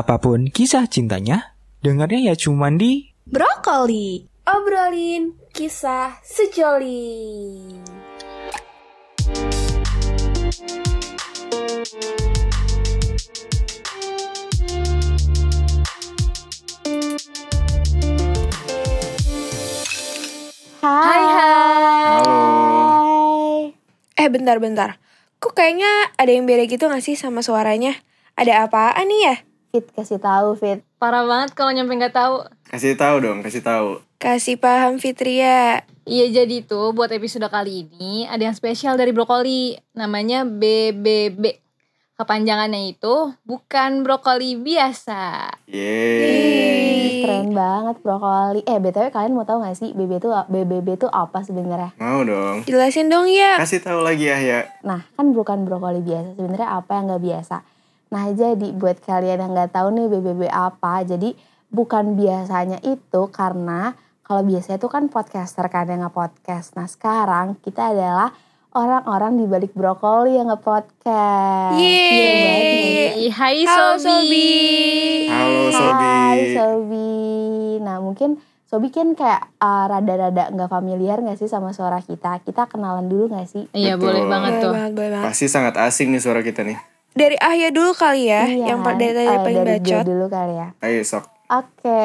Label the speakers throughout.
Speaker 1: Apapun kisah cintanya, dengarnya ya cuman di
Speaker 2: Brokoli, obrolin kisah sejoli. Hai hai.
Speaker 3: Eh bentar bentar Kok kayaknya ada yang beda gitu gak sih sama suaranya? Ada apaan nih ya?
Speaker 4: Fit kasih tahu Fit.
Speaker 5: Parah banget kalau nyampe nggak tahu.
Speaker 6: Kasih tahu dong, kasih tahu.
Speaker 3: Kasih paham Fitria
Speaker 5: Iya jadi itu buat episode kali ini ada yang spesial dari brokoli namanya BBB. Kepanjangannya itu bukan brokoli biasa.
Speaker 6: Yeay.
Speaker 3: Iya.
Speaker 4: Keren banget brokoli. Eh BTW kalian mau tahu gak sih BB itu BBB itu apa sebenarnya?
Speaker 6: Mau dong.
Speaker 3: Jelasin dong ya
Speaker 6: Kasih tahu lagi ya ya.
Speaker 4: Nah, kan bukan brokoli biasa, sebenarnya apa yang nggak biasa. Nah, jadi buat kalian yang nggak tahu nih BBB apa, jadi bukan biasanya itu karena kalau biasanya itu kan podcaster kan yang nge-podcast. Nah, sekarang kita adalah orang-orang di balik brokoli yang nge-podcast.
Speaker 3: Yeay.
Speaker 4: Iya banget nih.
Speaker 5: Hai, Hai
Speaker 3: Halo,
Speaker 5: Sobi.
Speaker 6: Halo Sobi.
Speaker 4: Hai Sobi. Nah mungkin Sobi kan kayak uh, rada-rada nggak familiar nggak sih sama suara kita? Kita kenalan dulu nggak sih?
Speaker 5: Iya
Speaker 6: Betul.
Speaker 5: boleh banget
Speaker 3: Boleh
Speaker 5: tuh.
Speaker 3: banget, boleh banget
Speaker 6: Pasti sangat asing nih suara kita nih.
Speaker 3: Dari Ahya dulu kali ya
Speaker 4: Iya
Speaker 3: Yang pa-
Speaker 4: kan?
Speaker 3: dari tadi
Speaker 4: Eh,
Speaker 3: paling
Speaker 4: dari gue
Speaker 3: bacot
Speaker 4: dulu kali ya.
Speaker 6: Ayo sok.
Speaker 4: Oke,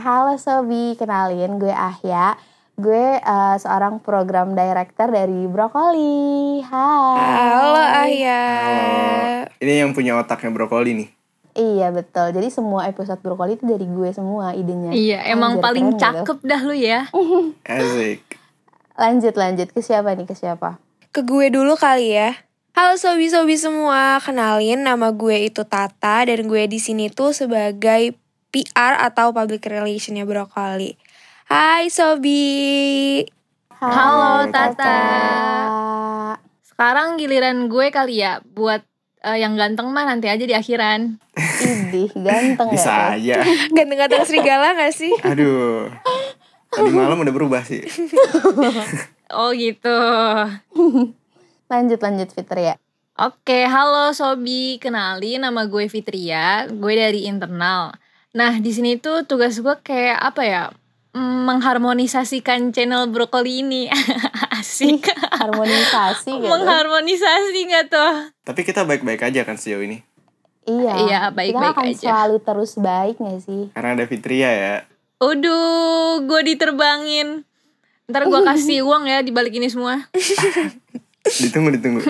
Speaker 4: halo Sobi, kenalin gue Ahya. Gue uh, seorang program director dari Brokoli. Hai.
Speaker 3: Halo Ahya
Speaker 6: Halo. Ini yang punya otaknya brokoli nih.
Speaker 4: Iya betul. Jadi semua episode Brokoli itu dari gue semua idenya.
Speaker 5: Iya
Speaker 4: Anjir,
Speaker 5: emang paling
Speaker 4: keren Oh, gitu.
Speaker 5: cakep dah lu ya.
Speaker 4: iya,
Speaker 6: Asik.
Speaker 4: Lanjut lanjut ke siapa nih? Ke siapa?
Speaker 3: Ke gue dulu kali ya Halo Sobi-Sobi semua, kenalin nama gue itu Tata dan gue di sini tuh sebagai PR atau public relationnya Brokoli. Hai Sobi.
Speaker 5: Halo, Tata.
Speaker 4: Tata.
Speaker 5: Sekarang giliran gue kali ya buat eh, yang ganteng mah nanti aja di akhiran.
Speaker 4: Idih, ganteng ya.
Speaker 6: Bisa aja.
Speaker 3: Ganteng-ganteng serigala gak sih?
Speaker 6: Aduh. Tadi malam udah berubah sih.
Speaker 5: Oh gitu.
Speaker 4: Lanjut lanjut ya. Fitria.
Speaker 5: Oke, halo Sobi. Kenalin nama gue Fitria, gue dari internal. Nah, di sini tuh tugas gue kayak apa ya? Mm, Mengharmonisasikan channel brokoli ini. Asik.
Speaker 4: Iya, Harmonisasi gitu.
Speaker 5: Mengharmonisasi nggak tuh?
Speaker 6: Tapi kita baik-baik aja kan sejauh ini.
Speaker 4: Iya.
Speaker 5: Iya, baik-baik
Speaker 4: Kita akan
Speaker 5: aja.
Speaker 4: selalu terus baik gak sih?
Speaker 6: Karena ada Fitria ya.
Speaker 5: Uduh, gue diterbangin. Ntar gue kasih uang ya di balik ini semua.
Speaker 6: Ditunggu ditunggu.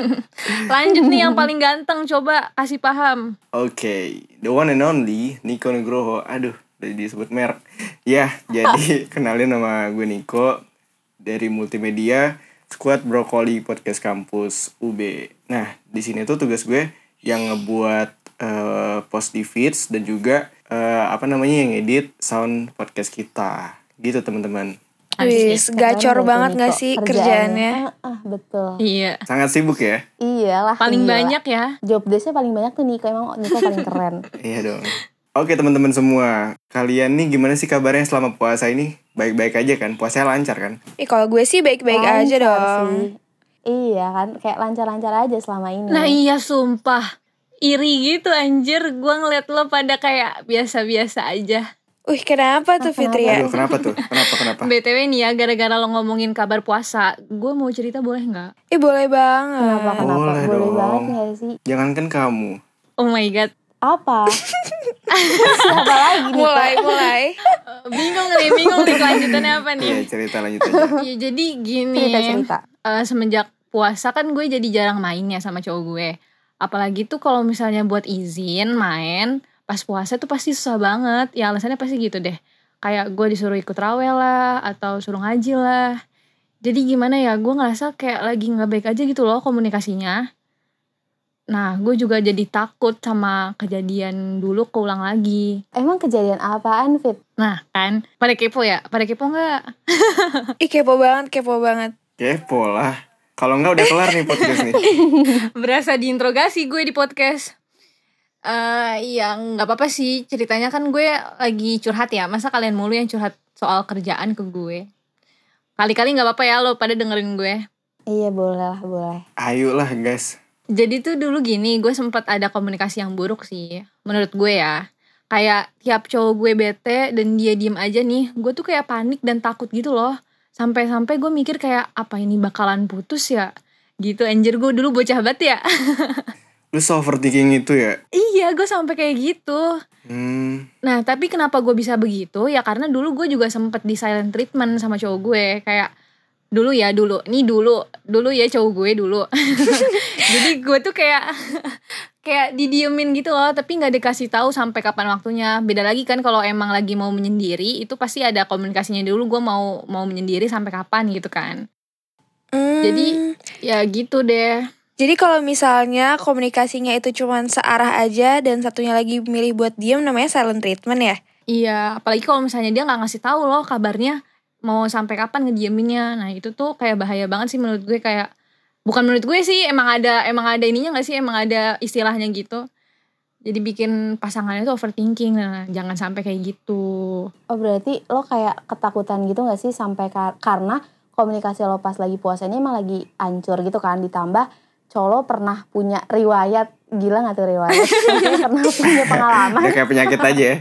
Speaker 5: Lanjut nih yang paling ganteng, coba kasih paham.
Speaker 6: Oke, the one and only Niko Nugroho. Aduh, udah disebut merek. Ya, jadi kenalin nama gue Niko dari Multimedia Squad Brokoli Podcast Kampus UB. Nah, di sini tuh tugas gue yang ngebuat eh, post di feeds dan juga eh, apa namanya yang edit sound podcast kita. Gitu teman-teman.
Speaker 3: Wis, gacor
Speaker 4: Keren
Speaker 3: banget
Speaker 4: tuh
Speaker 3: gak
Speaker 4: Niko
Speaker 3: sih kerjaannya?
Speaker 4: Ah, ah, betul.
Speaker 5: Iya.
Speaker 6: Sangat sibuk ya?
Speaker 4: Iyalah.
Speaker 5: Paling
Speaker 4: gila.
Speaker 5: banyak ya.
Speaker 4: Job desk-nya paling banyak tuh Niko. Emang Niko paling keren.
Speaker 6: Iya dong. Oke teman-teman semua, kalian nih gimana sih kabarnya selama puasa ini? Baik-baik aja kan? Puasanya lancar kan?
Speaker 3: Ih, kalau gue sih baik-baik aja
Speaker 4: Lancar
Speaker 3: dong.
Speaker 4: sih. Iya kan, kayak lancar-lancar aja selama ini.
Speaker 5: Nah iya sumpah Iri gitu anjir Gue ngeliat lo pada kayak biasa-biasa aja
Speaker 3: Wih, kenapa tuh ya? Fitria?
Speaker 6: Aduh, kenapa tuh? Kenapa kenapa?
Speaker 5: BTW nih ya gara-gara lo ngomongin kabar puasa Gue mau cerita boleh nggak?
Speaker 3: Ih, boleh banget.
Speaker 4: Kenapa kenapa?
Speaker 6: Boleh
Speaker 4: Boleh
Speaker 6: dong.
Speaker 4: banget gak sih?
Speaker 6: Jangankan kamu.
Speaker 5: Oh my god
Speaker 4: Apa? Siapa lagi Niko?
Speaker 3: Mulai, mulai.
Speaker 5: Bingung nih, bingung nih kelanjutannya apa nih
Speaker 6: Iya, cerita lanjut aja.
Speaker 5: ya, Jadi gini
Speaker 4: Cerita-cerita.
Speaker 5: eh, Semenjak puasa kan gue jadi jarang main ya sama cowok gue Apalagi tuh kalau misalnya buat izin main Pas puasa tuh pasti susah banget Ya alasannya pasti gitu deh Kayak gue disuruh ikut rawel lah Atau suruh ngaji lah Jadi gimana ya, gue ngerasa kayak lagi nggak baik aja gitu loh komunikasinya. Nah, gue juga jadi takut sama kejadian dulu keulang lagi.
Speaker 4: Emang kejadian apaan Fit?
Speaker 5: Nah, kan, pada kepo ya? Pada kepo nggak?
Speaker 3: Ih, kepo banget, kepo banget.
Speaker 6: Kepo lah. Kalau enggak udah kelar nih podcast nih.
Speaker 5: Berasa diinterogasi gue di podcast. Eh, iya, nggak apa-apa sih. Ceritanya kan gue lagi curhat ya. Masa kalian mulu yang curhat soal kerjaan ke gue? Kali-kali nggak apa-apa ya lo pada dengerin gue.
Speaker 4: Iya boleh lah boleh.
Speaker 6: Ayolah, guys.
Speaker 5: Jadi tuh dulu gini, gue sempat ada komunikasi yang buruk sih, menurut gue ya. kayak tiap cowok gue bete dan dia diem aja nih gue tuh kayak panik dan takut gitu loh sampai-sampai gue mikir kayak apa ini bakalan putus ya gitu anjir gue dulu bocah banget ya
Speaker 6: Lu so overthinking itu ya?
Speaker 5: iya gue sampai kayak gitu
Speaker 6: Hmm,
Speaker 5: Nah, tapi kenapa gue bisa begitu? Ya karena dulu gue juga sempet di silent treatment sama cowok gue. Kayak dulu ya dulu, nih dulu, dulu ya cowok gue dulu. Jadi gue tuh kayak kayak didiemin gitu loh, tapi nggak dikasih tahu sampai kapan waktunya. Beda lagi kan kalau emang lagi mau menyendiri, itu pasti ada komunikasinya dulu gue mau mau menyendiri sampai kapan gitu kan. Jadi- Ya gitu deh.
Speaker 3: Hmm. Jadi kalau misalnya komunikasinya itu cuman searah aja dan satunya lagi milih buat diam namanya silent treatment ya.
Speaker 5: Iya, apalagi kalau misalnya dia nggak ngasih tahu loh kabarnya mau sampai kapan ngediaminnya. Nah, itu tuh kayak bahaya banget sih menurut gue kayak bukan menurut gue sih emang ada emang ada ininya nggak sih emang ada istilahnya gitu. Jadi bikin pasangannya tuh overthinking. Nah, jangan sampai kayak gitu.
Speaker 4: Oh berarti lo kayak ketakutan gitu gak sih sampai kar- karena komunikasi lo pas lagi puasa ini emang lagi ancur gitu kan ditambah colo pernah punya riwayat gila gak tuh riwayat Maksudnya pernah punya pengalaman
Speaker 6: udah kayak penyakit aja ya.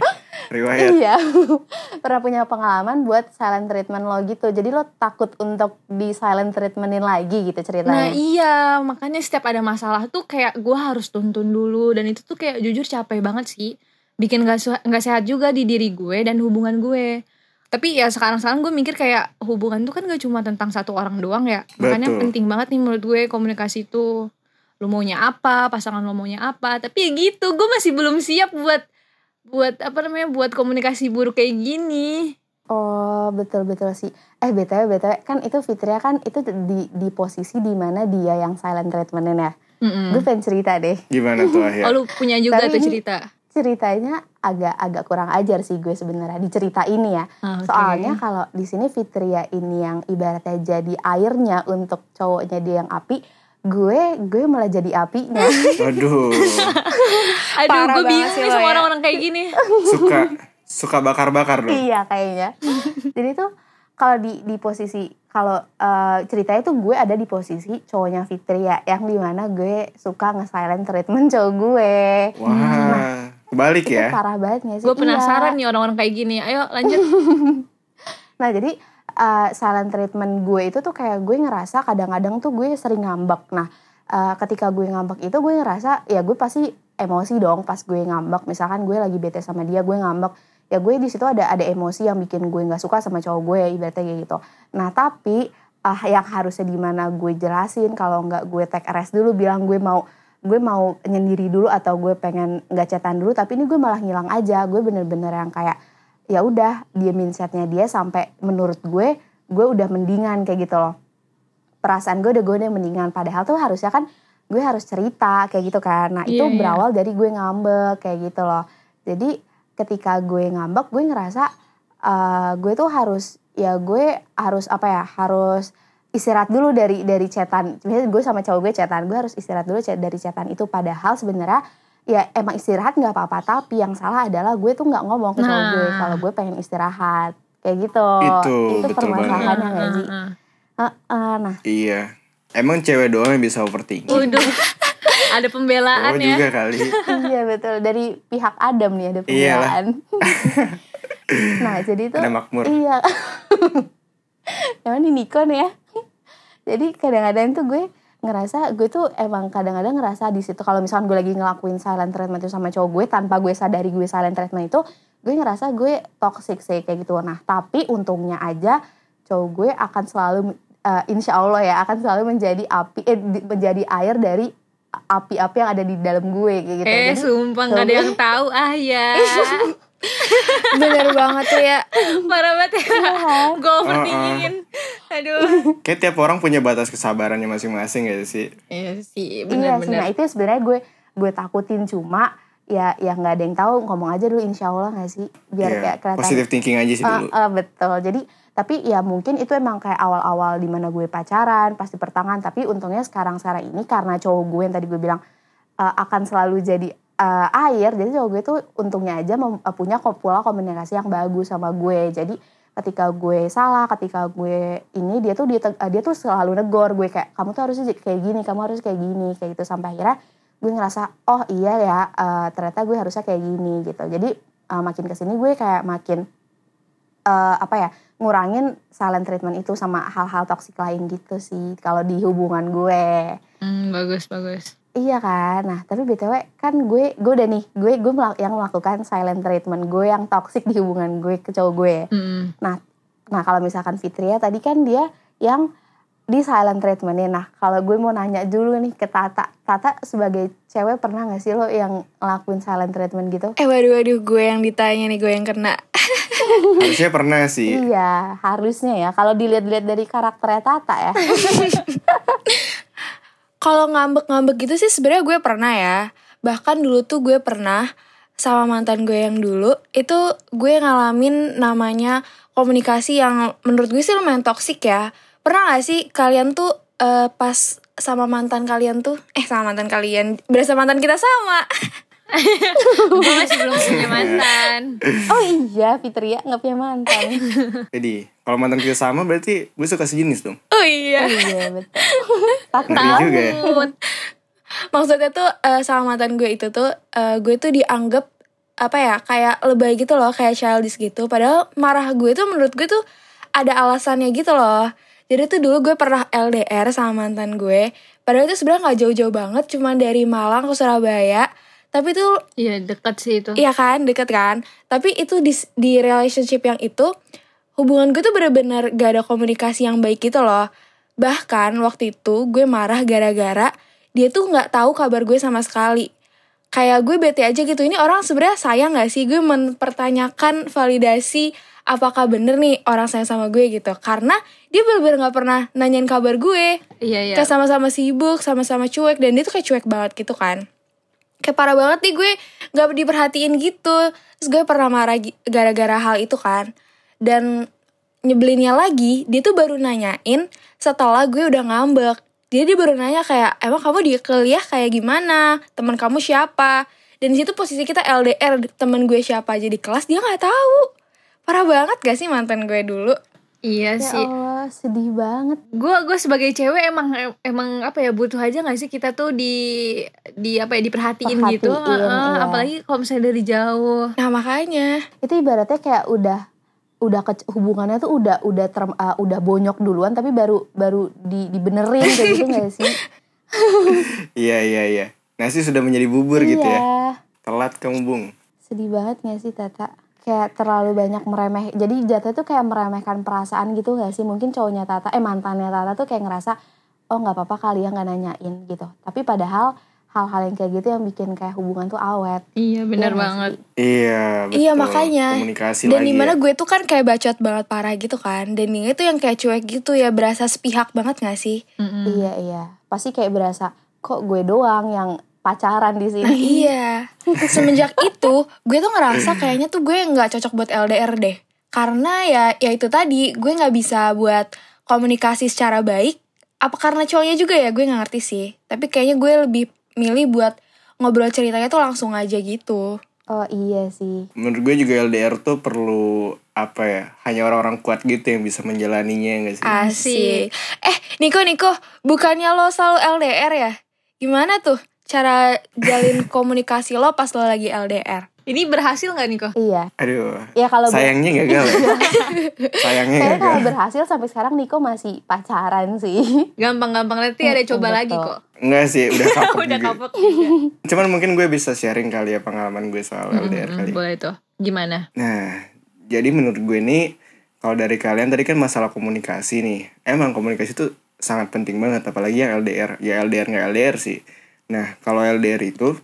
Speaker 6: Riwayat.
Speaker 4: iya pernah punya pengalaman buat silent treatment lo gitu jadi lo takut untuk di silent treatmentin lagi gitu
Speaker 5: Nah,
Speaker 4: ceritanya
Speaker 5: iya, makanya setiap ada masalah tuh kayak gue harus tuntun dulu dan itu tuh kayak jujur capek banget sih. Bikin gak, su- gak sehat juga di diri gue dan hubungan gue. Tapi ya sekarang-sekarang gue mikir kayak hubungan tuh kan gak cuma tentang satu orang doang ya. Makanya
Speaker 6: Betul.
Speaker 5: penting banget nih menurut gue komunikasi tuh lu maunya apa, pasangan lu maunya apa. Tapi ya gitu, gue masih belum siap buat buat apa namanya buat komunikasi buruk kayak gini.
Speaker 4: oh betul betul sih eh btw btw kan itu Fitria kan itu di di posisi dimana dia yang silent treatmentin ya gue
Speaker 5: Mm-mm.
Speaker 4: pengen cerita deh
Speaker 6: Gimana tuh akhir?
Speaker 5: Oh lu punya juga
Speaker 4: Tapi
Speaker 5: tuh
Speaker 4: ini-
Speaker 5: cerita.
Speaker 4: ceritanya agak agak kurang ajar sih gue sebenarnya di cerita ini ya
Speaker 5: Ah, oke.
Speaker 4: Soalnya kalau di sini Fitria ini yang ibaratnya jadi airnya untuk cowoknya dia yang api, gue gue malah jadi apinya.
Speaker 6: Aduh,
Speaker 5: Aduh,
Speaker 3: Parah
Speaker 5: gue
Speaker 3: banget
Speaker 5: bingung
Speaker 3: sih
Speaker 5: nih
Speaker 3: lo
Speaker 5: sama
Speaker 3: ya.
Speaker 5: orang-orang kayak gini.
Speaker 6: suka suka bakar-bakar dong.
Speaker 4: iya kayaknya. Jadi tuh kalau di di posisi kalau eh, ceritanya tuh gue ada di posisi cowoknya Fitria yang dimana gue suka nge-silent treatment cowok gue.
Speaker 6: Wah, balik
Speaker 4: Itu
Speaker 6: ya.
Speaker 4: parah banget gak sih?
Speaker 5: Gue
Speaker 4: Iya.
Speaker 5: penasaran nih orang-orang kayak gini. Ayo lanjut.
Speaker 4: Nah jadi eh, silent treatment gue itu tuh kayak gue ngerasa kadang-kadang tuh gue sering ngambek. Nah eh, ketika gue ngambek itu gue ngerasa ya gue pasti emosi dong pas gue ngambek. Misalkan gue lagi bete sama dia gue ngambek. Ya gue di situ ada ada emosi yang bikin gue nggak suka sama cowok gue ibaratnya kayak gitu. Nah tapi ah yang harusnya di mana gue jelasin kalau nggak gue take rest dulu bilang gue mau gue mau nyendiri dulu atau gue pengen nggak chatan dulu tapi ini gue malah ngilang aja gue bener-bener yang kayak ya udah diemin setnya dia sampai menurut gue gue udah mendingan kayak gitu loh perasaan gue udah gue udah mendingan padahal tuh harusnya kan gue harus cerita kayak gitu kan nah itu
Speaker 5: Iya, iya.
Speaker 4: berawal dari gue ngambek kayak gitu loh jadi ketika gue ngambek gue ngerasa eh, gue tuh harus ya gue harus apa ya harus istirahat dulu dari dari cetan biasanya gue sama cowok gue cetan gue harus istirahat dulu ce- dari cetan itu padahal sebenarnya ya emang istirahat nggak apa-apa tapi yang salah adalah gue tuh nggak ngomong ke cowok gue
Speaker 5: Nah.
Speaker 4: kalau gue pengen istirahat kayak gitu
Speaker 6: Itu,
Speaker 5: Ah,
Speaker 6: betul
Speaker 4: permasalahan
Speaker 5: Nah.
Speaker 4: yang gak sih
Speaker 5: Heeh.
Speaker 4: Heeh, nah
Speaker 6: Iya. Emang cewek doang yang bisa overthinking.
Speaker 5: Waduh. Ada pembelaan
Speaker 6: Cowok
Speaker 5: Oh, ya.
Speaker 6: Oh, juga kali.
Speaker 4: iya betul dari pihak Adam nih ada pembelaan nah jadi tuh
Speaker 6: Ada makmur.
Speaker 4: Iya. Emang di Nikon ya. Jadi kadang-kadang tuh gue ngerasa gue tuh emang kadang-kadang ngerasa di situ kalau misalkan gue lagi ngelakuin silent treatment itu sama cowok gue tanpa gue sadari gue silent treatment itu gue ngerasa gue toxic sih kayak gitu nah tapi untungnya aja cowok gue akan selalu eh, insya Allah ya akan selalu menjadi api eh, di- menjadi air dari api-api yang ada di dalam gue kayak gitu
Speaker 5: Eh,
Speaker 4: Jadi-
Speaker 5: sumpah nggak ada yang
Speaker 6: Oh.
Speaker 5: tahu ah ya.
Speaker 3: Bener banget tuh ya.
Speaker 5: Parah banget ya.
Speaker 6: Ah,
Speaker 5: Gue overthinkingin. Aduh.
Speaker 6: Kayak tiap orang punya batas kesabarannya masing-masing ya sih.
Speaker 5: Iya
Speaker 4: Iya sih,
Speaker 5: sih,
Speaker 4: nah
Speaker 5: benar-benar.
Speaker 4: itu sebenarnya gue gue takutin cuma ya ya nggak ada yang tahu ngomong aja dulu insya Allah nggak sih biar
Speaker 6: Iya,
Speaker 4: kayak kelihatan
Speaker 6: Positive thinking aja sih
Speaker 4: Eh,
Speaker 6: dulu.
Speaker 4: eh, betul jadi tapi ya mungkin itu emang kayak awal-awal dimana gue pacaran pasti pertengahan tapi untungnya sekarang sekarang ini karena cowok gue yang tadi gue bilang eh, akan selalu jadi eh, air jadi cowok gue tuh untungnya aja mem- eh, punya ko- pola komunikasi yang bagus sama gue jadi ketika gue salah ketika gue ini dia tuh dia, teg- eh, dia tuh selalu negor gue kayak kamu tuh harusnya j- kayak gini kamu harus kayak gini kayak gitu sampai akhirnya gue ngerasa oh iya ya eh, ternyata gue harusnya kayak gini gitu jadi eh, makin kesini gue kayak makin eh, apa ya ngurangin silent treatment itu sama hal-hal toksik lain gitu sih kalau di hubungan gue
Speaker 5: Hmm, bagus bagus.
Speaker 4: iya kan nah tapi btw kan gue gue udah nih gue gue melak- yang melakukan silent treatment gue yang toksik di hubungan gue ke cowok gue
Speaker 5: Hmm,
Speaker 4: Nah kalau misalkan Fitria tadi kan dia yang di silent treatmentnya. Nah kalau gue mau nanya dulu nih ke Tata. Tata sebagai cewek pernah gak sih lo yang ngelakuin silent treatment gitu?
Speaker 3: Eh waduh waduh gue yang ditanya nih gue yang kena.
Speaker 6: Harusnya pernah sih.
Speaker 4: Iya harusnya ya. Kalau dilihat-lihat dari karakternya Tata ya.
Speaker 3: Kalau ngambek-ngambek gitu sih sebenarnya gue pernah ya. Bahkan dulu tuh gue pernah sama mantan gue yang dulu itu gue ngalamin namanya komunikasi yang menurut gue sih lumayan toksik ya. Pernah gak sih kalian tuh eh, pas sama mantan kalian tuh eh sama mantan kalian berasa mantan kita sama.
Speaker 5: gue masih belum punya mantan.
Speaker 4: Oh iya Fitria nggak punya mantan.
Speaker 3: Hmm.
Speaker 6: Jadi kalau mantan kita sama berarti gue suka sejenis dong.
Speaker 3: Oh iya.
Speaker 4: iya betul. Tata
Speaker 6: Ngeri juga ya.
Speaker 5: Takut.
Speaker 3: Maksudnya tuh eh, sama mantan gue itu tuh eh, gue tuh dianggap apa ya kayak lebay gitu loh kayak childish gitu padahal marah gue tuh menurut gue tuh ada alasannya gitu loh jadi tuh dulu gue pernah LDR sama mantan gue padahal itu sebenarnya nggak jauh-jauh banget cuman dari Malang ke Surabaya tapi tuh
Speaker 5: Iya dekat sih itu.
Speaker 3: Iya kan, deket kan. Tapi itu di, di relationship yang itu, hubungan gue tuh bener-bener gak ada komunikasi yang baik gitu loh. Bahkan waktu itu gue marah gara-gara dia tuh gak tahu kabar gue sama sekali. Kayak gue bete aja gitu, ini orang sebenarnya sayang gak sih? Gue mempertanyakan validasi apakah bener nih orang sayang sama gue gitu. Karena dia bener-bener gak pernah nanyain kabar gue
Speaker 5: Iya iya.
Speaker 3: kayak sama-sama sibuk, sama-sama cuek dan dia tuh kayak cuek banget gitu kan. Kayak parah banget nih gue nggak diperhatiin gitu. Terus gue pernah marah gi- gara-gara hal itu kan. Dan nyebelinnya lagi, dia tuh baru nanyain setelah gue udah ngambek. Jadi dia baru nanya kayak, emang kamu di kuliah kayak gimana? Teman kamu siapa? Dan di situ posisi kita LDR, teman gue siapa aja di kelas dia nggak tahu. Parah banget gak sih mantan gue dulu?
Speaker 5: Iya
Speaker 4: Ya
Speaker 5: sih.
Speaker 4: Allah sedih banget.
Speaker 5: gue gue sebagai cewek emang emang apa ya butuh aja nggak sih kita tuh di di apa ya diperhatiin gitu
Speaker 4: Perhatiin,
Speaker 5: Heeh,
Speaker 4: iya.
Speaker 5: apalagi kalau misalnya dari jauh
Speaker 3: Nah makanya.
Speaker 4: Itu ibaratnya kayak udah udah ke, hubungannya tuh udah udah term- eh, udah bonyok duluan tapi baru baru di, dibenerin kayak gitu gak sih?
Speaker 6: Iya iya iya. Nasi sudah menjadi bubur gitu ya.
Speaker 4: Iya.
Speaker 6: Telat kamu bung.
Speaker 4: sedih banget gak sih Tata? Kayak terlalu banyak meremeh Jadi jatuh tuh kayak meremehkan perasaan gitu gak sih? Mungkin cowoknya Tata, eh mantannya Tata tuh kayak ngerasa Oh gak apa-apa kali ya gak nanyain gitu Tapi padahal hal-hal yang kayak gitu yang bikin kayak hubungan tuh awet
Speaker 5: iya
Speaker 4: Iya
Speaker 5: benar
Speaker 4: gak
Speaker 5: banget
Speaker 4: sih?
Speaker 6: Iya. Betul.
Speaker 3: Iya, makanya.
Speaker 6: Komunikasi
Speaker 3: Dan
Speaker 6: lagi.
Speaker 3: dimana
Speaker 6: ya.
Speaker 3: gue tuh kan kayak bacot banget parah gitu kan Dan dia tuh yang kayak cuek gitu ya Berasa sepihak banget gak sih?
Speaker 5: Mm-mm.
Speaker 4: Iya iya Pasti kayak berasa kok gue doang yang pacaran di
Speaker 3: Nah
Speaker 4: sini
Speaker 3: iya Semenjak itu Gue tuh ngerasa kayaknya tuh gue gak cocok buat LDR deh Karena ya ya itu tadi Gue gak bisa buat komunikasi secara baik Apa karena cowoknya juga ya Gue gak ngerti sih Tapi kayaknya gue lebih milih buat Ngobrol ceritanya tuh langsung aja gitu
Speaker 4: Oh iya sih
Speaker 6: Menurut gue juga LDR tuh perlu apa ya? Hanya orang-orang kuat gitu yang bisa menjalaninya ya nggak sih?
Speaker 3: Ah. Asik. Eh, Niko, Niko, bukannya lo selalu LDR ya? Gimana tuh cara jalin komunikasi lo pas lo lagi LDR?
Speaker 5: ini berhasil nggak nih kok
Speaker 4: Iya
Speaker 6: Aduh.
Speaker 4: Ya kalau ber-
Speaker 6: Sayangnya gagal. ya. Sayangnya
Speaker 4: Kayaknya
Speaker 6: gagal.
Speaker 4: kalau berhasil sampai sekarang Niko masih pacaran sih
Speaker 5: gampang-gampang nanti ya, ada coba
Speaker 4: betul.
Speaker 5: lagi kok
Speaker 6: Enggak sih, udah kapok
Speaker 5: Oh, udah
Speaker 6: juga.
Speaker 5: kapok juga.
Speaker 6: Cuman mungkin gue bisa sharing kali ya pengalaman gue soal LDR
Speaker 5: Mm-mm,
Speaker 6: kali. ya.
Speaker 5: boleh tuh gimana
Speaker 6: Nah, jadi menurut gue ini kalau dari kalian tadi kan masalah komunikasi nih. Emang komunikasi itu sangat penting banget apalagi yang LDR. Ya LDR nggak LDR sih. Nah, kalau LDR itu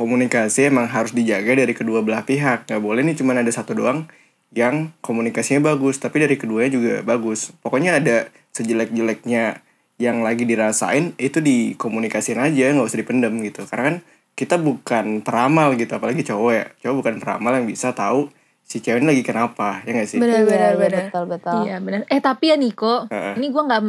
Speaker 6: komunikasi emang harus dijaga dari kedua belah pihak. Nggak boleh nih cuman ada satu doang yang komunikasinya bagus, tapi dari keduanya juga bagus. Pokoknya ada sejelek-jeleknya yang lagi dirasain itu dikomunikasiin aja, nggak usah dipendam gitu. Karena kan kita bukan peramal gitu, apalagi cowok ya. Cowok bukan peramal yang bisa tahu si cewek ini lagi kenapa, ya nggak sih?
Speaker 4: Iya,
Speaker 3: Benar-benar.
Speaker 4: iya, Betul betul
Speaker 5: iya benar eh tapi ya Niko
Speaker 6: Heeh.
Speaker 5: ini gue nggak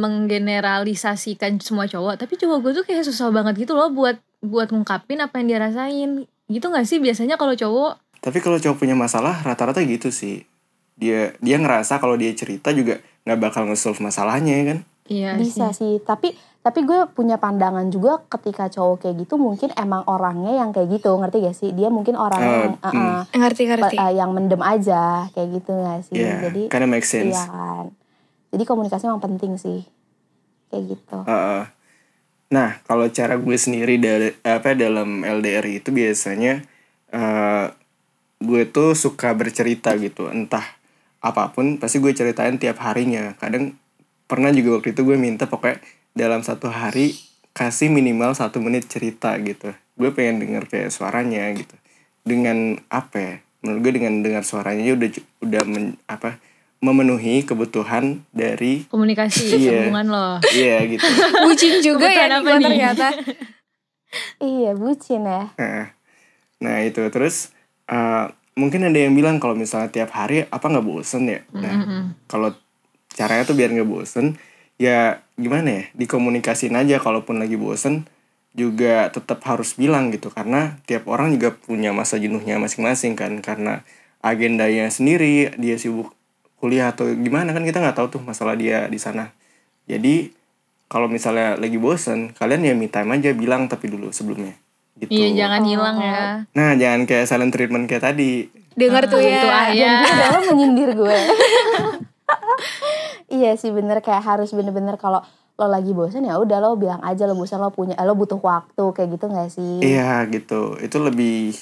Speaker 5: menggeneralisasikan semua cowok tapi cowok gue tuh kayak susah banget gitu loh buat buat ngungkapin apa yang dia rasain gitu nggak sih biasanya kalau cowok
Speaker 6: Tapi kalau cowok punya masalah rata-rata gitu sih. Dia dia ngerasa kalau dia cerita juga nggak bakal nge-solve masalahnya ya kan?
Speaker 5: iya
Speaker 4: bisa sih tapi Tapi gue punya pandangan juga ketika cowok kayak gitu mungkin emang orangnya yang kayak gitu ngerti gak sih? Dia mungkin orang
Speaker 6: Eh,
Speaker 4: yang, eh, eh,
Speaker 3: Ngerti
Speaker 4: pe-
Speaker 3: ngerti.
Speaker 4: eh, yang mendem aja kayak gitu gak sih?
Speaker 6: ya
Speaker 4: Jadi
Speaker 6: karena make sense
Speaker 4: iya kan. Jadi komunikasi emang penting sih kayak gitu.
Speaker 6: Heeh. Nah, kalau cara gue sendiri dari apa dalam LDR itu biasanya eh, gue tuh suka bercerita gitu, entah apapun pasti gue ceritain tiap harinya. Kadang pernah juga waktu itu gue minta pokoknya dalam satu hari kasih minimal satu menit cerita gitu. Gue pengen denger kayak suaranya gitu. Dengan apa? ya? Menurut gue dengan dengar suaranya aja udah udah men- apa memenuhi kebutuhan dari
Speaker 5: Komunikasi
Speaker 6: Iya.
Speaker 5: hubungan lo.
Speaker 6: iya gitu.
Speaker 3: Bucin juga ya nih
Speaker 5: Kebutuhan apa
Speaker 3: gue
Speaker 5: nih?
Speaker 3: ternyata.
Speaker 4: Iya bucin ya.
Speaker 6: Heeh. Nah itu terus eh, mungkin ada yang bilang kalau misalnya tiap hari apa nggak bosen ya? Nah
Speaker 5: Mm-mm.
Speaker 6: kalau caranya tuh biar nggak bosen ya gimana ya dikomunikasiin aja kalaupun lagi bosen juga tetap harus bilang gitu karena tiap orang juga punya masa jenuhnya masing-masing kan karena agendanya sendiri dia sibuk kuliah atau gimana kan kita nggak tahu tuh masalah dia di sana jadi kalau misalnya lagi bosen kalian ya me time aja bilang tapi dulu sebelumnya gitu
Speaker 5: Iya jangan hilang ya.
Speaker 6: Nah, jangan kayak silent treatment kayak tadi.
Speaker 3: Dengar tuh
Speaker 5: Itu
Speaker 3: ya.
Speaker 5: ayah.
Speaker 4: Gue dalam menyindir gue. iya sih bener kayak harus bener-bener kalau lo lagi bosan ya udah lo bilang aja lo bosan lo punya eh, lo butuh waktu kayak gitu nggak sih?
Speaker 6: Iya, gitu. Itu lebih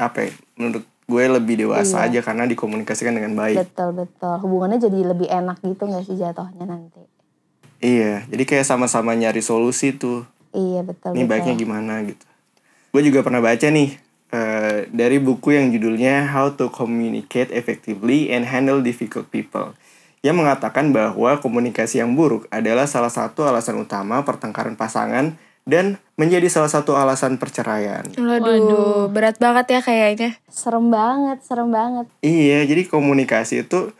Speaker 6: apa? Ya, menurut gue lebih dewasa
Speaker 4: Iya.
Speaker 6: aja karena dikomunikasikan dengan baik.
Speaker 4: Betul betul hubungannya jadi lebih enak gitu nggak sih jatuhnya nanti?
Speaker 6: Iya, jadi kayak sama-sama nyari solusi tuh.
Speaker 4: Iya betul.
Speaker 6: Ini
Speaker 4: betul.
Speaker 6: baiknya gimana gitu. Gue juga pernah baca nih eh, dari buku yang judulnya How to Communicate Effectively and Handle Difficult People. Yang mengatakan bahwa komunikasi yang buruk adalah salah satu alasan utama pertengkaran pasangan dan menjadi salah satu alasan perceraian.
Speaker 3: Waduh, berat banget ya kayaknya.
Speaker 4: Serem banget serem banget.
Speaker 6: Iya, jadi komunikasi itu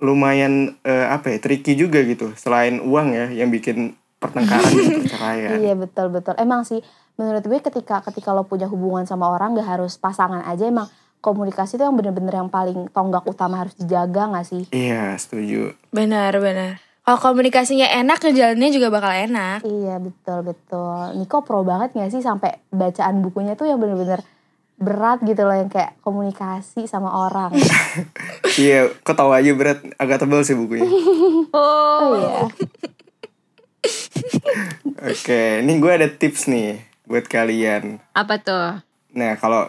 Speaker 6: lumayan eh, apa ya, tricky juga gitu. Selain uang ya yang bikin pertengkaran dan perceraian.
Speaker 4: Iya betul betul. Emang sih menurut gue ketika ketika lo punya hubungan sama orang gak harus pasangan aja emang komunikasi itu yang bener-bener yang paling tonggak utama harus dijaga gak sih?
Speaker 6: Iya, setuju.
Speaker 3: Benar benar. Kalau komunikasinya enak, jalannya juga bakal enak.
Speaker 4: Iya betul betul. Niko pro banget gak sih sampai bacaan bukunya tuh yang bener-bener berat gitu loh yang kayak komunikasi sama orang.
Speaker 6: Iya, kok tahu aja berat agak tebal sih bukunya.
Speaker 5: Oh.
Speaker 4: Oh iya.
Speaker 6: Oke, ini gue ada tips nih buat kalian.
Speaker 5: Apa tuh?
Speaker 6: Nah, kalau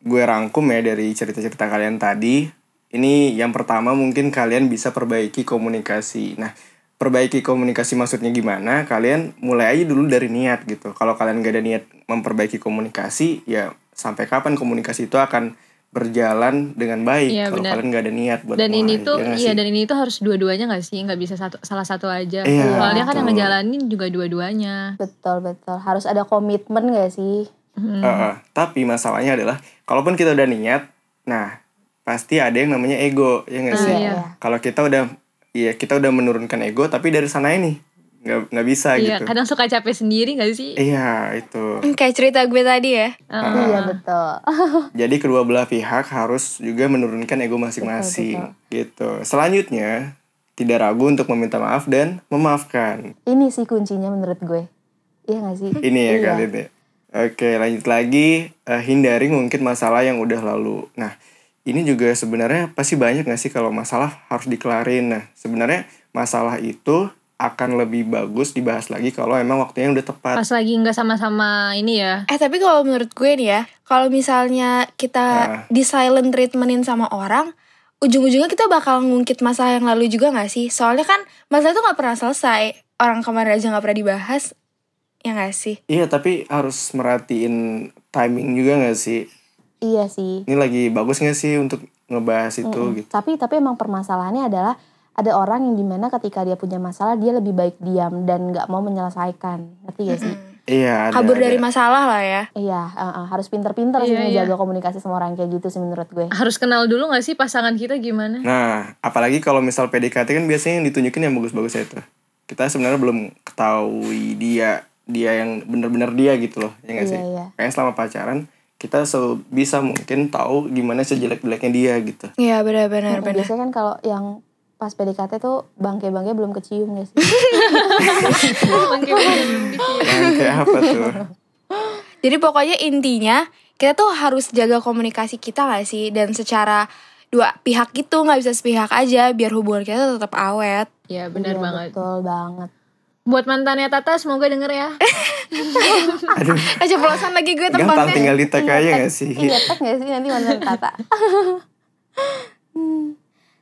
Speaker 6: gue rangkum ya dari cerita-cerita kalian tadi, ini yang pertama mungkin kalian bisa perbaiki komunikasi. Nah, perbaiki komunikasi maksudnya gimana? Kalian mulai aja dulu dari niat gitu. Kalau kalian gak ada niat memperbaiki komunikasi, ya sampai kapan komunikasi itu akan berjalan dengan baik
Speaker 5: Iya,
Speaker 6: kalau
Speaker 5: benar.
Speaker 6: kalian gak ada niat buat
Speaker 5: dan ini
Speaker 6: mulai,
Speaker 5: tuh
Speaker 6: ya nggak
Speaker 5: iya
Speaker 6: sih?
Speaker 5: dan ini tuh harus dua-duanya nggak sih nggak bisa satu salah satu aja
Speaker 6: Iya,
Speaker 5: soalnya kan yang
Speaker 6: betul.
Speaker 5: ngejalanin juga dua-duanya
Speaker 4: betul betul. Harus ada komitmen gak sih?
Speaker 5: Hmm.
Speaker 6: Heeh. tapi masalahnya adalah kalaupun kita udah niat, nah pasti ada yang namanya ego ya nggak
Speaker 5: Nah,
Speaker 6: sih?
Speaker 5: iya.
Speaker 6: Kalau kita udah iya kita udah menurunkan ego tapi dari sana ini nggak nggak bisa
Speaker 5: iya
Speaker 6: gitu.
Speaker 5: kadang suka capek sendiri nggak sih
Speaker 6: Iya itu.
Speaker 3: Hmm, Kayak cerita gue tadi ya.
Speaker 5: Heeh.
Speaker 4: Iya betul.
Speaker 5: Oh.
Speaker 6: Jadi kedua belah pihak harus juga menurunkan ego masing-masing gitu. Selanjutnya tidak ragu untuk meminta maaf dan memaafkan.
Speaker 4: Ini sih kuncinya menurut gue. Iya gak sih?
Speaker 6: Ini ya
Speaker 4: Iya.
Speaker 6: kalian ya. Oke lanjut lagi Eh, hindari mungkin masalah yang udah lalu. Nah ini juga sebenarnya pasti banyak nggak sih kalau masalah harus dikelarin. Nah sebenarnya masalah itu akan lebih bagus dibahas lagi kalau emang waktunya udah tepat.
Speaker 5: pas lagi nggak sama-sama ini ya
Speaker 3: Eh tapi kalau menurut gue nih ya, kalau misalnya kita
Speaker 6: Ah.
Speaker 3: di silent treatmentin sama orang, ujung-ujungnya kita bakal ngungkit masalah yang lalu juga gak sih? Soalnya kan masalah itu gak pernah selesai. Orang kemarin aja gak pernah dibahas, ya gak sih?
Speaker 6: Iya tapi harus merhatiin timing juga nggak sih.
Speaker 4: Iya sih.
Speaker 6: Ini lagi bagus nggak sih untuk ngebahas itu
Speaker 4: Mm-mm.
Speaker 6: gitu.
Speaker 4: Tapi tapi emang permasalahannya adalah ada orang yang dimana ketika dia punya masalah dia lebih baik diam dan nggak mau menyelesaikan, ngerti gak sih?
Speaker 6: Iya. ada-
Speaker 3: Kabur
Speaker 6: ada.
Speaker 3: dari masalah lah ya.
Speaker 4: Iya, eh, eh, harus pinter-pinter sih
Speaker 5: Iya,
Speaker 4: menjaga komunikasi sama orang kayak gitu sih menurut gue.
Speaker 5: harus kenal dulu nggak sih pasangan kita gimana
Speaker 6: Nah, apalagi kalau misal PDKT kan biasanya yang ditunjukin yang bagus-bagus ya itu. Kita sebenarnya belum ketahui dia dia yang bener-bener dia gitu loh, ya nggak sih?
Speaker 4: Iya, iya.
Speaker 6: Kayaknya selama pacaran kita sebisa mungkin tahu gimana sejelek-jeleknya dia gitu.
Speaker 3: Iya benar-benar
Speaker 4: Mm-mm,
Speaker 3: benar.
Speaker 4: Biasanya kan Nah, kalau yang pas PDKT tuh bangke-bangke belum kecium gak sih?
Speaker 5: Oke, belum gitu.
Speaker 6: Yang kayak apa tuh?
Speaker 3: Jadi pokoknya intinya kita tuh harus jaga komunikasi kita gak sih dan secara dua pihak gitu nggak bisa sepihak aja biar hubungan kita tetap awet.
Speaker 5: Ya benar
Speaker 4: Iya,
Speaker 5: banget.
Speaker 4: Betul banget.
Speaker 5: Buat mantannya Tata semoga denger ya.
Speaker 6: Eh, Aduh,
Speaker 3: Eh ceplosan lagi gue
Speaker 6: gampang
Speaker 3: tempatnya.
Speaker 6: tinggal di tag aja gak sih?
Speaker 4: Iya, tag gak sih nanti mantan tata? Hmm.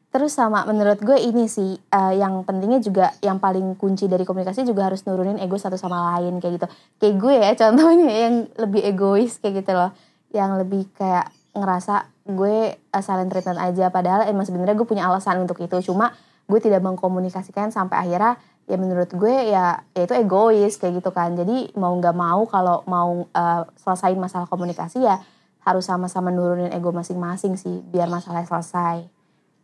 Speaker 4: Terus sama menurut gue ini sih eh, yang pentingnya juga yang paling kunci dari komunikasi juga harus nurunin ego satu sama lain kayak gitu. Kayak gue ya contohnya yang lebih egois kayak gitu loh. Yang lebih kayak ngerasa gue eh, silent treatment aja padahal emang sebenarnya gue punya alasan untuk itu. Cuma gue tidak mengkomunikasikan sampai akhirnya ya menurut gue ya, ya itu egois kayak gitu kan. Jadi mau nggak mau kalau mau eh, selesain masalah komunikasi ya harus sama-sama nurunin ego masing-masing sih biar masalahnya selesai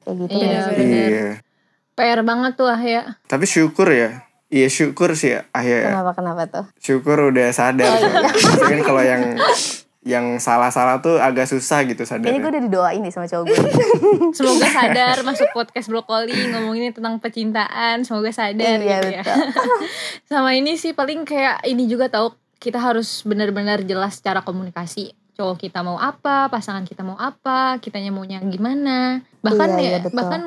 Speaker 4: kayak gitu
Speaker 5: Iya,
Speaker 4: ya sih?
Speaker 5: bener.
Speaker 6: Iya.
Speaker 5: PR banget tuh ah ya.
Speaker 6: Tapi syukur ya. Iya syukur sih akhirnya.
Speaker 4: kenapa kenapa tuh
Speaker 6: Syukur udah sadar.
Speaker 5: Iya,
Speaker 6: Biasanya kan kalau yang yang salah-salah tuh agak susah
Speaker 4: ini
Speaker 6: gitu
Speaker 4: gue
Speaker 6: sadarnya.
Speaker 4: udah didoain nih sama cowok gue
Speaker 5: Semoga sadar masuk podcast brokoli ngomongin tentang percintaan. Semoga sadar
Speaker 4: iya
Speaker 5: gitu ya.
Speaker 4: betul
Speaker 5: Sama ini sih paling kayak ini juga tahu kita harus benar-benar jelas secara komunikasi. Cowok kita mau apa, pasangan kita mau apa, kitanya maunya gimana. Bahkan
Speaker 4: Iya, iya,
Speaker 5: ya,
Speaker 4: betul.
Speaker 5: bahkan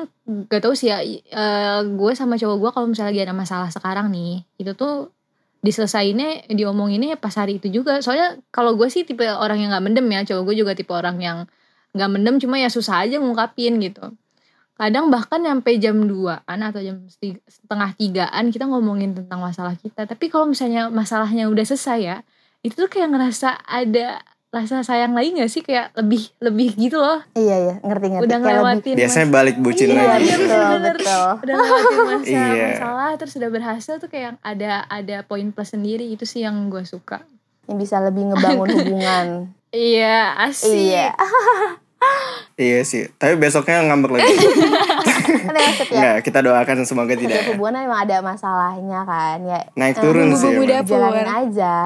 Speaker 5: gak tau sih ya i- eh, gue sama cowok gue kalau misalnya lagi ada masalah sekarang nih, itu tuh diselesainnya diomonginnya pas hari itu juga. Soalnya kalau gue sih tipe orang yang nggak mendem ya, cowok gue juga tipe orang yang nggak mendem cuma ya susah aja ngungkapin gitu kadang bahkan sampai jam 2an atau jam seti- setengah tigaan kita ngomongin tentang masalah kita tapi kalau misalnya masalahnya udah selesai ya itu tuh kayak ngerasa ada rasa sayang lagi gak sih kayak lebih lebih gitu loh
Speaker 4: iya iya ngerti ngerti Kayak
Speaker 5: udah
Speaker 4: lebih-
Speaker 5: ngelewatin mas-
Speaker 6: Biasanya balik bucin
Speaker 5: Iya,
Speaker 6: lagi.
Speaker 5: iya,
Speaker 4: betul
Speaker 5: bener-bener.
Speaker 4: betul
Speaker 5: udah ngelewatin masa
Speaker 6: Iya.
Speaker 5: masalah terus udah berhasil tuh kayak ada ada poin plus sendiri itu sih yang gue suka
Speaker 4: yang bisa lebih ngebangun hubungan
Speaker 5: iya asik
Speaker 4: iya
Speaker 6: Iya sih. Tapi besoknya ngambek lagi.
Speaker 5: Iya.
Speaker 4: kan ya setiap
Speaker 6: Enggak, kita doakan semoga
Speaker 4: setiap
Speaker 6: tidak
Speaker 4: hubungan emang ada masalahnya kan ya
Speaker 6: naik
Speaker 4: eh,
Speaker 6: turun sih.
Speaker 3: bumbu
Speaker 6: emang.
Speaker 3: dapur.
Speaker 4: jalanin aja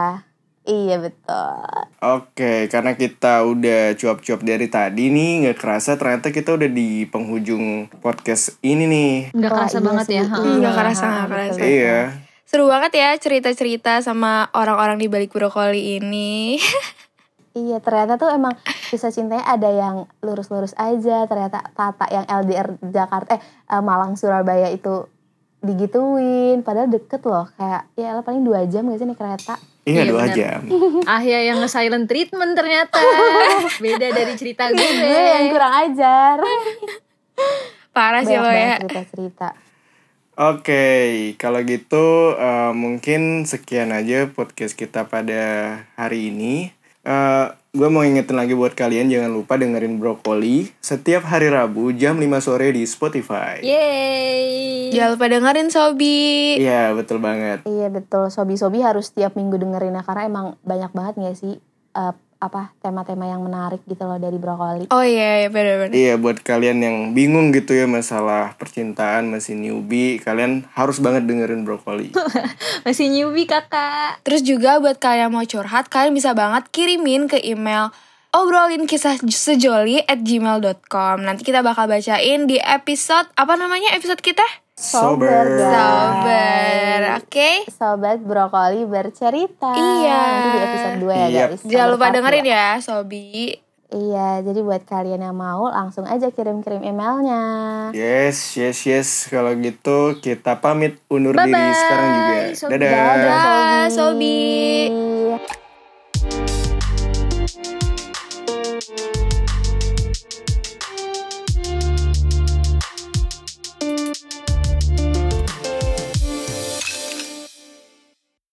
Speaker 4: iya betul
Speaker 6: Oke, karena kita udah cuap-cuap dari tadi nih, nggak kerasa ternyata kita udah di penghujung podcast ini nih.
Speaker 5: nggak
Speaker 4: Wah,
Speaker 5: kerasa
Speaker 4: iya
Speaker 5: banget
Speaker 4: sih,
Speaker 5: ya ha.
Speaker 4: iya,
Speaker 3: Nggak kerasa,
Speaker 4: ha,
Speaker 3: nggak
Speaker 4: betul,
Speaker 3: kerasa.
Speaker 4: betul.
Speaker 6: Iya.
Speaker 3: Seru banget ya cerita-cerita sama orang-orang di balik brokoli ini.
Speaker 4: Iya ternyata tuh emang bisa cintanya ada yang lurus-lurus aja ternyata Tata yang LDR Jakarta eh eh, Malang Surabaya itu digituin padahal deket loh kayak ya elah, paling dua jam gak sih nih kereta
Speaker 6: Iya,
Speaker 5: Iya,
Speaker 6: dua
Speaker 5: benar.
Speaker 6: jam.
Speaker 5: Ahya Ah, ya, yang silent treatment ternyata beda dari cerita gue
Speaker 4: gue Iya,
Speaker 3: Eh.
Speaker 4: yang kurang ajar
Speaker 3: Parah sih
Speaker 4: banyak
Speaker 3: lo
Speaker 4: banget
Speaker 3: Eh, ya.
Speaker 4: cerita-cerita
Speaker 6: Oke, kalau gitu eh, mungkin sekian aja podcast kita pada hari ini. Eh, gue mau ingetin lagi buat kalian jangan lupa dengerin Brokoli setiap hari Rabu jam 5 sore di Spotify. Iya,
Speaker 5: Yeay.
Speaker 3: Jangan lupa dengerin Sobi.
Speaker 6: betul banget.
Speaker 4: iya betul sobi-sobi harus tiap minggu dengerin ya karena emang banyak banget gak sih eh, apa tema-tema yang menarik gitu loh dari brokoli
Speaker 3: Oh iya, iya benar-benar.
Speaker 6: Iya, buat kalian yang bingung gitu ya masalah percintaan masih newbie, kalian harus banget dengerin Brokoli.
Speaker 5: Masih newbie kakak.
Speaker 3: Terus juga buat kalian yang mau curhat, kalian bisa banget kirimin ke email obrolin kisah sejoli at gmail.com. Nanti kita bakal bacain di episode, apa namanya episode kita?
Speaker 6: Sober.
Speaker 3: Sober, oke?
Speaker 4: sobat brokoli bercerita
Speaker 3: Iya.
Speaker 4: nanti di episode 2 ya
Speaker 6: Yap.
Speaker 4: guys
Speaker 3: Jangan lupa
Speaker 4: Sobat
Speaker 3: dengerin ya, Sobi.
Speaker 4: Iya, jadi buat kalian yang mau langsung aja kirim-kirim emailnya.
Speaker 6: Yes, yes, yes. Kalau gitu kita pamit undur diri
Speaker 5: Bye-bye.
Speaker 6: sekarang juga.
Speaker 5: So-
Speaker 6: Dadah.
Speaker 4: Dadah.
Speaker 3: Dah, Sobi.
Speaker 4: Sobi.